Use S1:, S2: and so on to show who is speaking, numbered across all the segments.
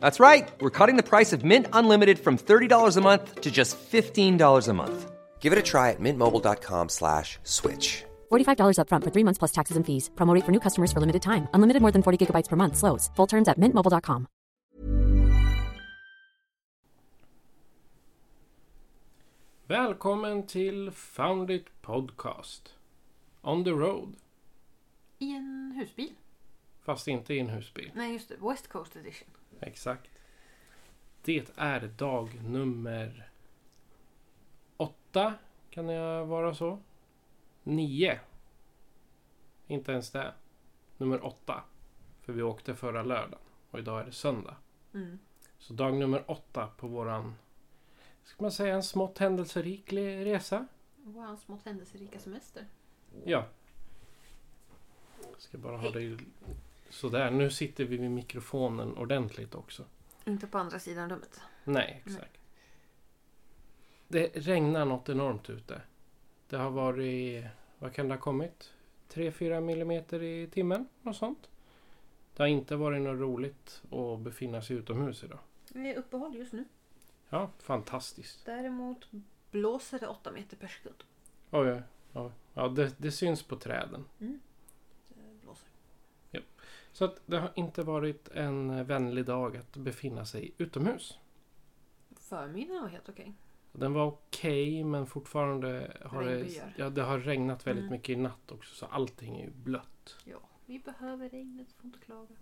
S1: That's right. We're cutting the price of Mint Unlimited from $30 a month to just $15 a month. Give it a try at mintmobile.com slash switch.
S2: $45 upfront for three months plus taxes and fees. Promo rate for new customers for limited time. Unlimited more than 40 gigabytes per month. Slows. Full terms at mintmobile.com.
S3: Välkommen till Found It Podcast. On the road,
S4: I en husbil?
S3: fast inte i en husbil.
S4: Nej, just det. West Coast edition.
S3: Exakt. Det är dag nummer åtta, kan jag vara så? Nio. Inte ens det. Nummer åtta. För vi åkte förra lördagen och idag är det söndag. Så dag nummer åtta på våran, ska man säga en smått händelserik le- resa?
S4: Vår smått händelserika semester.
S3: Ja. Jag ska bara ha dig sådär. Nu sitter vi vid mikrofonen ordentligt också.
S4: Inte på andra sidan rummet.
S3: Nej, exakt. Det regnar något enormt ute. Det har varit, vad kan det ha kommit? 3-4 millimeter i timmen, något sånt. Det har inte varit något roligt att befinna sig utomhus idag.
S4: Vi är uppehåll just nu.
S3: Ja, fantastiskt.
S4: Däremot blåser det 8 meter per sekund.
S3: Oj, oj, oj. Ja, det, det syns på träden.
S4: Det blåser.
S3: Så att det har inte varit en vänlig dag att befinna sig utomhus.
S4: Förmiddagen var helt okej.
S3: Den var okej men fortfarande har det,
S4: Regnbyar.
S3: ja, det har regnat väldigt mycket i natt också så allting är ju blött.
S4: Ja, vi behöver regnet, får inte klaga.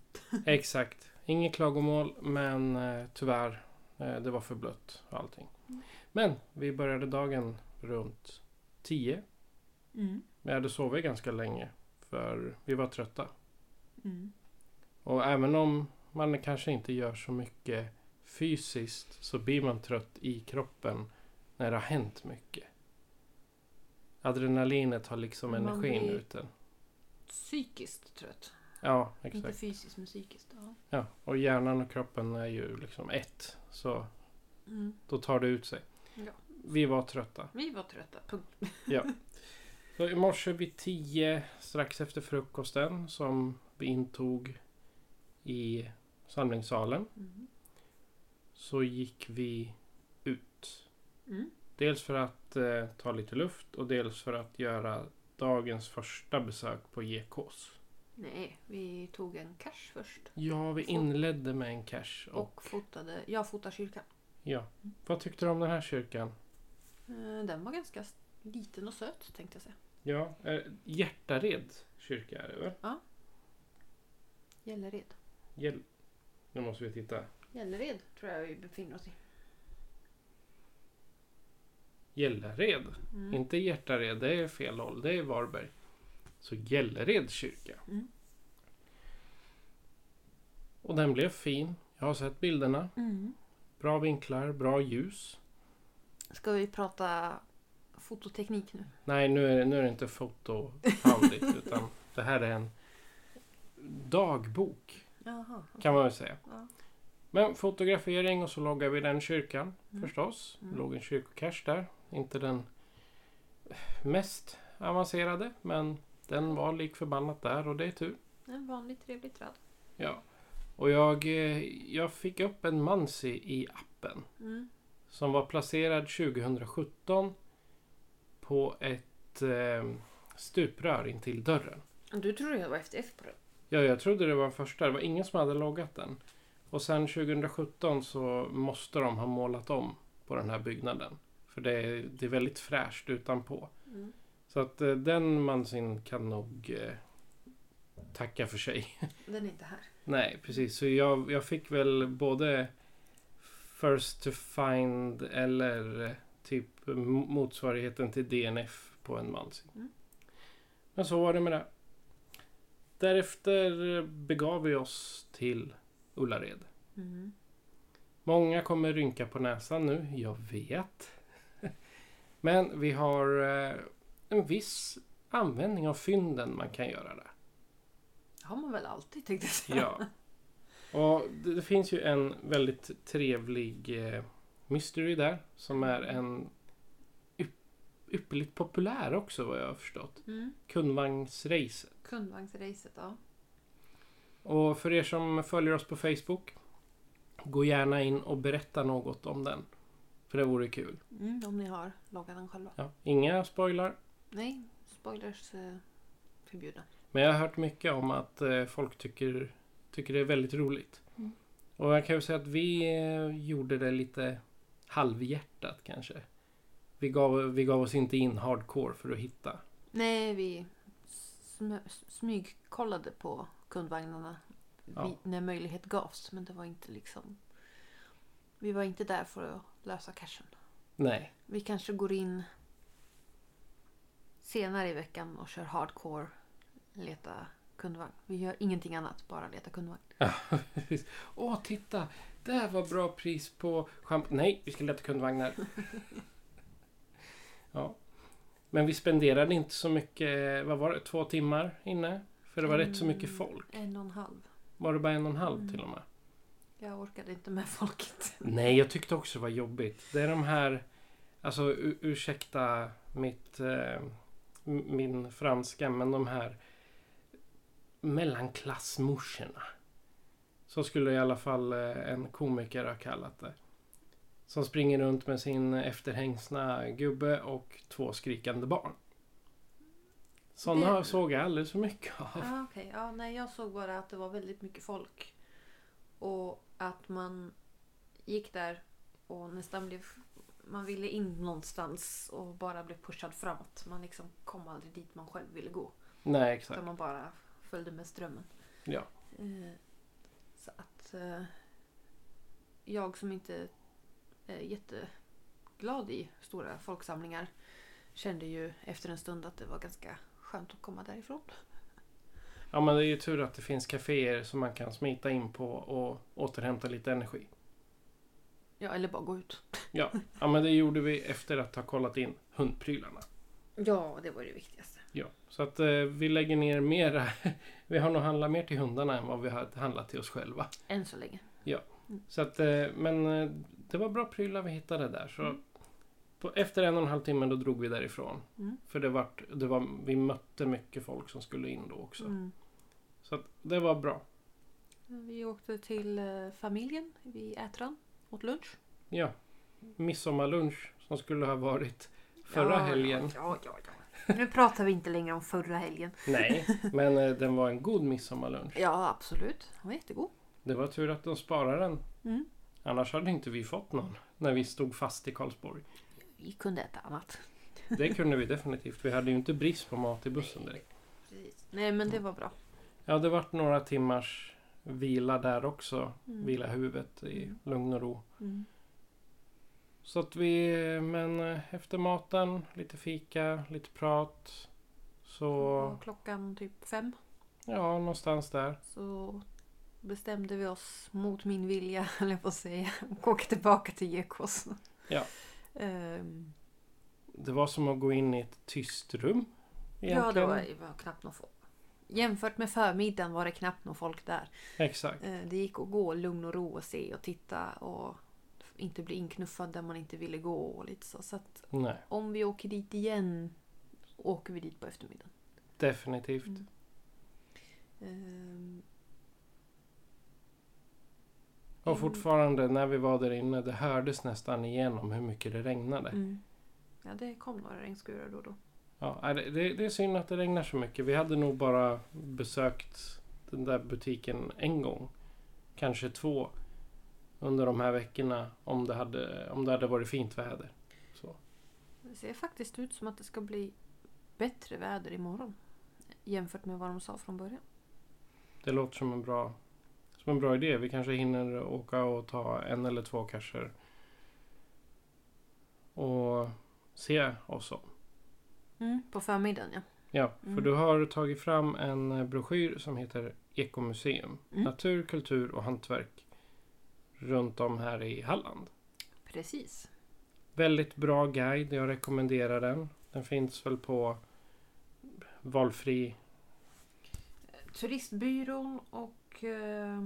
S3: Exakt. Inget klagomål men eh, tyvärr eh, det var för blött och allting. Men vi började dagen runt 10.
S4: Mm.
S3: Vi hade sovit ganska länge för vi var trötta.
S4: Mm.
S3: Och även om man kanske inte gör så mycket fysiskt så blir man trött i kroppen när det har hänt mycket. Adrenalinet har liksom
S4: Man
S3: energin
S4: blir-
S3: ut den.
S4: Psykiskt trött.
S3: Ja, exakt.
S4: Inte fysiskt men psykiskt. Ja.
S3: Ja, och hjärnan och kroppen är ju liksom ett. Så
S4: Mm.
S3: då tar det ut sig.
S4: Ja.
S3: Vi var trötta.
S4: Vi var trötta, punkt.
S3: Så i morse vid 10 strax efter frukosten som vi intog i samlingssalen
S4: Mm.
S3: så gick vi ut.
S4: Mm.
S3: Dels för att eh, ta lite luft och dels för att göra dagens första besök på GKs.
S4: Nej, vi tog en cash först.
S3: Ja, vi
S4: Fot-
S3: inledde med en cash. Och,
S4: Och fotade, jag fotar kyrkan.
S3: ja. Vad tyckte du om den här kyrkan?
S4: Eh, Den var ganska s- liten och söt tänkte jag säga.
S3: Ja, eh, Hjärtared kyrka är det väl?
S4: Gällered.
S3: Hjäl- nu måste vi titta.
S4: Gällered tror jag vi befinner oss i.
S3: Gällared. Inte Hjärtared, det är fel håll. Det är Varberg. Så Gällared kyrka.
S4: Mm.
S3: Och den blev fin. Jag har sett bilderna.
S4: Mm.
S3: Bra vinklar, bra ljus.
S4: Ska vi prata fototeknik nu?
S3: Nej, nu är det, nu är det inte fotohandligt utan det här är en dagbok
S4: Jaha.
S3: kan man väl säga.
S4: Ja.
S3: Men fotografering och så loggar vi den kyrkan förstås. Det låg en kyrkocache där. Inte den mest avancerade men den var lik förbannat där och det är tur.
S4: En vanlig trevlig träd.
S3: Ja. Och jag, eh, jag fick upp en Mansi i appen.
S4: Mm.
S3: Som var placerad 2017 på ett eh, stuprör intill dörren.
S4: Du trodde det var FTF på den?
S3: Ja, jag trodde det var den första. Det var ingen som hade loggat den. Och sen 2017 så måste de ha målat om på den här byggnaden. För det är, det är väldigt fräscht utanpå.
S4: Mm.
S3: Så att eh, den Mansin kan nog eh, tacka för sig.
S4: Den är inte här.
S3: Nej, precis. Så jag, jag fick väl både First to find eller eh, typ m- motsvarigheten till DNF på en mansing.
S4: Mm.
S3: Men så var det med det.
S4: Mm.
S3: Därefter begav vi oss till Ullared. Många kommer rynka på näsan nu, jag vet. Men vi har eh, en viss användning av fynden man kan göra där.
S4: Det har man väl alltid tänkte jag säga.
S3: Ja. Och det, det finns ju en väldigt trevlig eh, mystery där som är en ypp, ypperligt populär också vad jag har förstått.
S4: Mm.
S3: Kundvagnsrace.
S4: Kundvagnsracet, ja.
S3: Och för er som följer oss på Facebook, gå gärna in och berätta något om den. För det vore kul.
S4: Mm, om ni har loggat den själva.
S3: Ja, inga spoilar.
S4: Nej, spoilers eh, förbjudna.
S3: Men jag har hört mycket om att eh, folk tycker, tycker det är väldigt roligt.
S4: Mm.
S3: Och jag kan ju säga att vi eh, gjorde det lite halvhjärtat kanske. Vi gav, vi gav oss inte in hardcore för att hitta.
S4: Nej, vi sm smygkollade på kundvagnarna
S3: Ja.
S4: vi, när möjlighet gavs. Men det var inte liksom... Vi var inte där för att lösa cashen.
S3: Nej.
S4: Vi kanske går in senare i veckan och kör hardcore. Leta kundvagn. Vi gör ingenting annat, bara leta kundvagn.
S3: Åh, titta! Där var bra pris på schampo. Nej, vi ska leta kundvagnar. ja. Men vi spenderade inte så mycket, vad var det, två timmar inne? För det var rätt så
S4: Mm.
S3: mycket folk.
S4: En och en halv.
S3: Var det bara en och en halv till och med?
S4: Jag orkade inte med folket.
S3: Nej, jag tyckte också det var jobbigt. Det är de här... Alltså, u- ursäkta mitt, eh, m- min franska, men de här mellanklassmorsorna. Så skulle i alla fall eh, en komiker ha kallat det. Som springer runt med sin efterhängsna gubbe och två skrikande barn. Sådana
S4: Det-
S3: såg jag alldeles för mycket av.
S4: Ah, okej. ja, nej, jag såg bara att det var väldigt mycket folk. Och att man gick där och nästan blev... Man ville in någonstans och bara blev pushad framåt. Man liksom kom aldrig dit man själv ville gå.
S3: Nej,
S4: Utan
S3: exakt.
S4: man bara följde med strömmen.
S3: Ja.
S4: Eh, Så att eh, jag som inte är jätteglad i stora folksamlingar kände ju efter en stund att det var ganska skönt att komma därifrån.
S3: Ja men det är ju tur att det finns kaféer som man kan smita in på och återhämta lite energi.
S4: Ja, eller bara gå ut.
S3: Ja, ja men det gjorde vi efter att ha kollat in hundprylarna.
S4: Ja, det var det viktigaste.
S3: Ja, så att eh, vi lägger ner mera. Vi har nog handlat mer till hundarna än vad vi har handlat till oss själva.
S4: Än så länge.
S3: Så att, eh, men eh, det var bra prylar vi hittade där. Så på, efter en och en halv timme då drog vi därifrån.
S4: Mm.
S3: För det vart, det var, vi mötte mycket folk som skulle in då också.
S4: Mm.
S3: Så att det var bra.
S4: Vi åkte till eh, familjen vid Ätran. Åt lunch.
S3: Ja, midsommarlunch som skulle ha varit förra
S4: Ja,
S3: helgen.
S4: Ja, ja, ja. ja. Nu pratar vi inte längre om förra helgen.
S3: Nej, men eh, den var en god midsommarlunch.
S4: Ja, absolut. Den var jättegod.
S3: Det var tur att de sparade den.
S4: Mm.
S3: Annars hade inte vi fått någon när vi stod fast i Karlsborg.
S4: Vi kunde äta annat.
S3: Det kunde vi definitivt. Vi hade ju inte brist på mat i bussen direkt.
S4: Precis. Nej, men det
S3: Mm.
S4: var bra.
S3: Ja, det vart några timmars vila där också.
S4: Mm.
S3: Vila huvudet i lugn och ro.
S4: Mm.
S3: Så att vi, men eh, efter maten, lite fika, lite prat. Så,
S4: Och klockan typ fem
S3: ja, någonstans där.
S4: så bestämde vi oss mot min vilja, eller på att säga, och åka tillbaka till Gekås.
S3: Ja.
S4: Ehm,
S3: Det var som att gå in i ett tyst rum.
S4: ja, det
S3: egentligen.
S4: var, det var knappt någon folk. Jämfört med förmiddagen var det knappt någon folk där.
S3: Exakt.
S4: Eh, Det gick att gå lugn och ro och se och titta och inte bli inknuffad där man inte ville gå och lite så. Så att
S3: Nej,
S4: om vi åker dit igen åker vi dit på eftermiddagen.
S3: definitivt.
S4: Mm. Ehm,
S3: Och
S4: Mm.
S3: fortfarande när vi var där inne, det hördes nästan igenom hur mycket det regnade.
S4: Mm. Ja, det kom några regnskurar då och då.
S3: Ja, nej, det, det, det är synd att det regnar så mycket. Vi hade nog bara besökt den där butiken en gång. Kanske två. Under de här veckorna om det hade, om det hade varit fint väder. Så.
S4: Det ser faktiskt ut som att det ska bli bättre väder imorgon. Jämfört med vad de sa från början.
S3: Det låter som en bra, som en bra idé. Vi kanske hinner åka och ta en eller två kanske. Och se oss om.
S4: På förmiddagen ja.
S3: Ja, för
S4: Mm.
S3: du har tagit fram en eh, broschyr som heter Ekomuseum.
S4: Mm.
S3: Natur, kultur och hantverk. runt om här i Halland.
S4: Precis.
S3: Väldigt bra guide, jag rekommenderar den. Den finns väl på valfri...
S4: Turistbyrån och eh,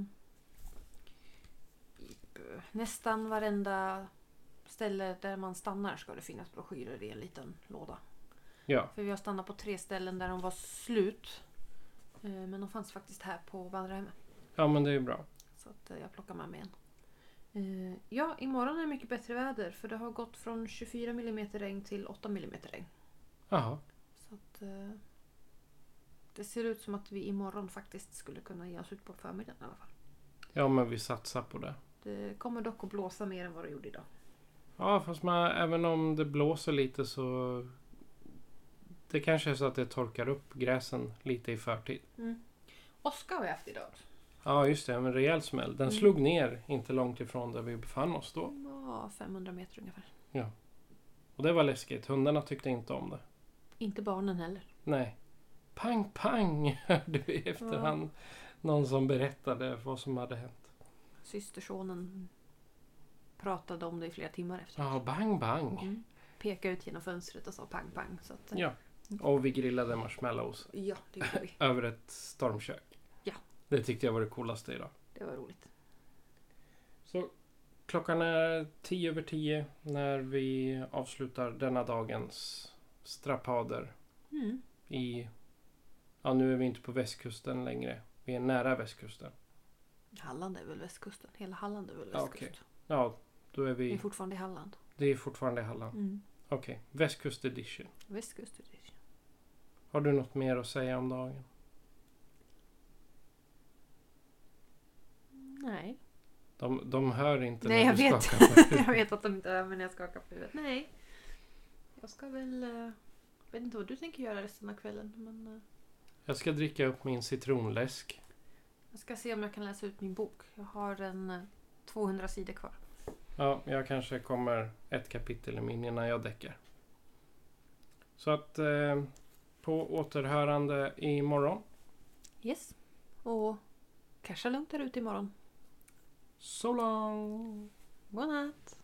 S4: i- b- nästan varenda ställe där man stannar ska det finnas broschyrer i en liten låda.
S3: Ja,
S4: För vi har stannat på tre ställen där de var slut. Eh, Men de fanns faktiskt här på vandrarhemmet.
S3: ja men det är bra.
S4: Så att eh, jag plockar med mig en. Eh, Ja, imorgon är det mycket bättre väder för det har gått från 24 mm regn till 8 mm regn.
S3: Jaha,
S4: Så att, eh, det ser ut som att vi imorgon faktiskt skulle kunna ge oss ut på förmiddagen i alla fall.
S3: ja men vi satsar på det.
S4: Det kommer dock att blåsa mer än vad det gjorde idag.
S3: Ja, fast man, även om det blåser lite så... Det kanske är så att det torkar upp gräsen lite i förtid.
S4: Oskar har vi haft idag.
S3: Ja, just det. En rejäl smäll.
S4: Mm.
S3: Den slog ner inte långt ifrån där vi befann oss då.
S4: Ja, 500 meter ungefär.
S3: Och det var läskigt. Hundarna tyckte inte om det.
S4: Inte barnen heller.
S3: Nej. Pang, pang hörde vi i efterhand. Någon som berättade vad som hade hänt.
S4: Systersonen pratade om det i flera timmar efter.
S3: Ja, bang, bang.
S4: Mm. Pekade ut genom fönstret och sa pang pang. Så att, eh,
S3: Ja. Och vi grillade marshmallows
S4: ja, det gjorde vi.
S3: över ett stormkök.
S4: Ja.
S3: Det tyckte jag var det coolaste idag.
S4: Det var roligt.
S3: Så klockan är tio över tio när vi avslutar denna dagens strappader
S4: Mm.
S3: i... Ja, nu är vi inte på västkusten längre. Vi är nära västkusten.
S4: Halland är väl västkusten? Hela Halland är väl
S3: Ja,
S4: västkust?
S3: okej. Ja, då är
S4: Vi är
S3: vi...
S4: fortfarande i Halland.
S3: Det är fortfarande Halland.
S4: Mm.
S3: Okej, västkust edition.
S4: Västkust är det.
S3: Har du något mer att säga om dagen?
S4: Nej.
S3: De, de hör inte
S4: Nej,
S3: när
S4: jag
S3: du
S4: vet.
S3: skakar på huvudet.
S4: jag vet att de inte är men jag skakar på huvudet. Nej. Jag ska väl... eh, vet inte vad du tänker göra resten av kvällen. Men eh,
S3: Jag ska dricka upp min citronläsk.
S4: jag ska se om jag kan läsa ut min bok. Jag har en eh, 200 sidor kvar.
S3: Ja, jag kanske kommer ett kapitel i min innan jag däckar. Så att eh, på återhörande imorgon
S4: Yes. Och kanske lugnt där ute imorgon.
S3: So long!
S4: Godnatt.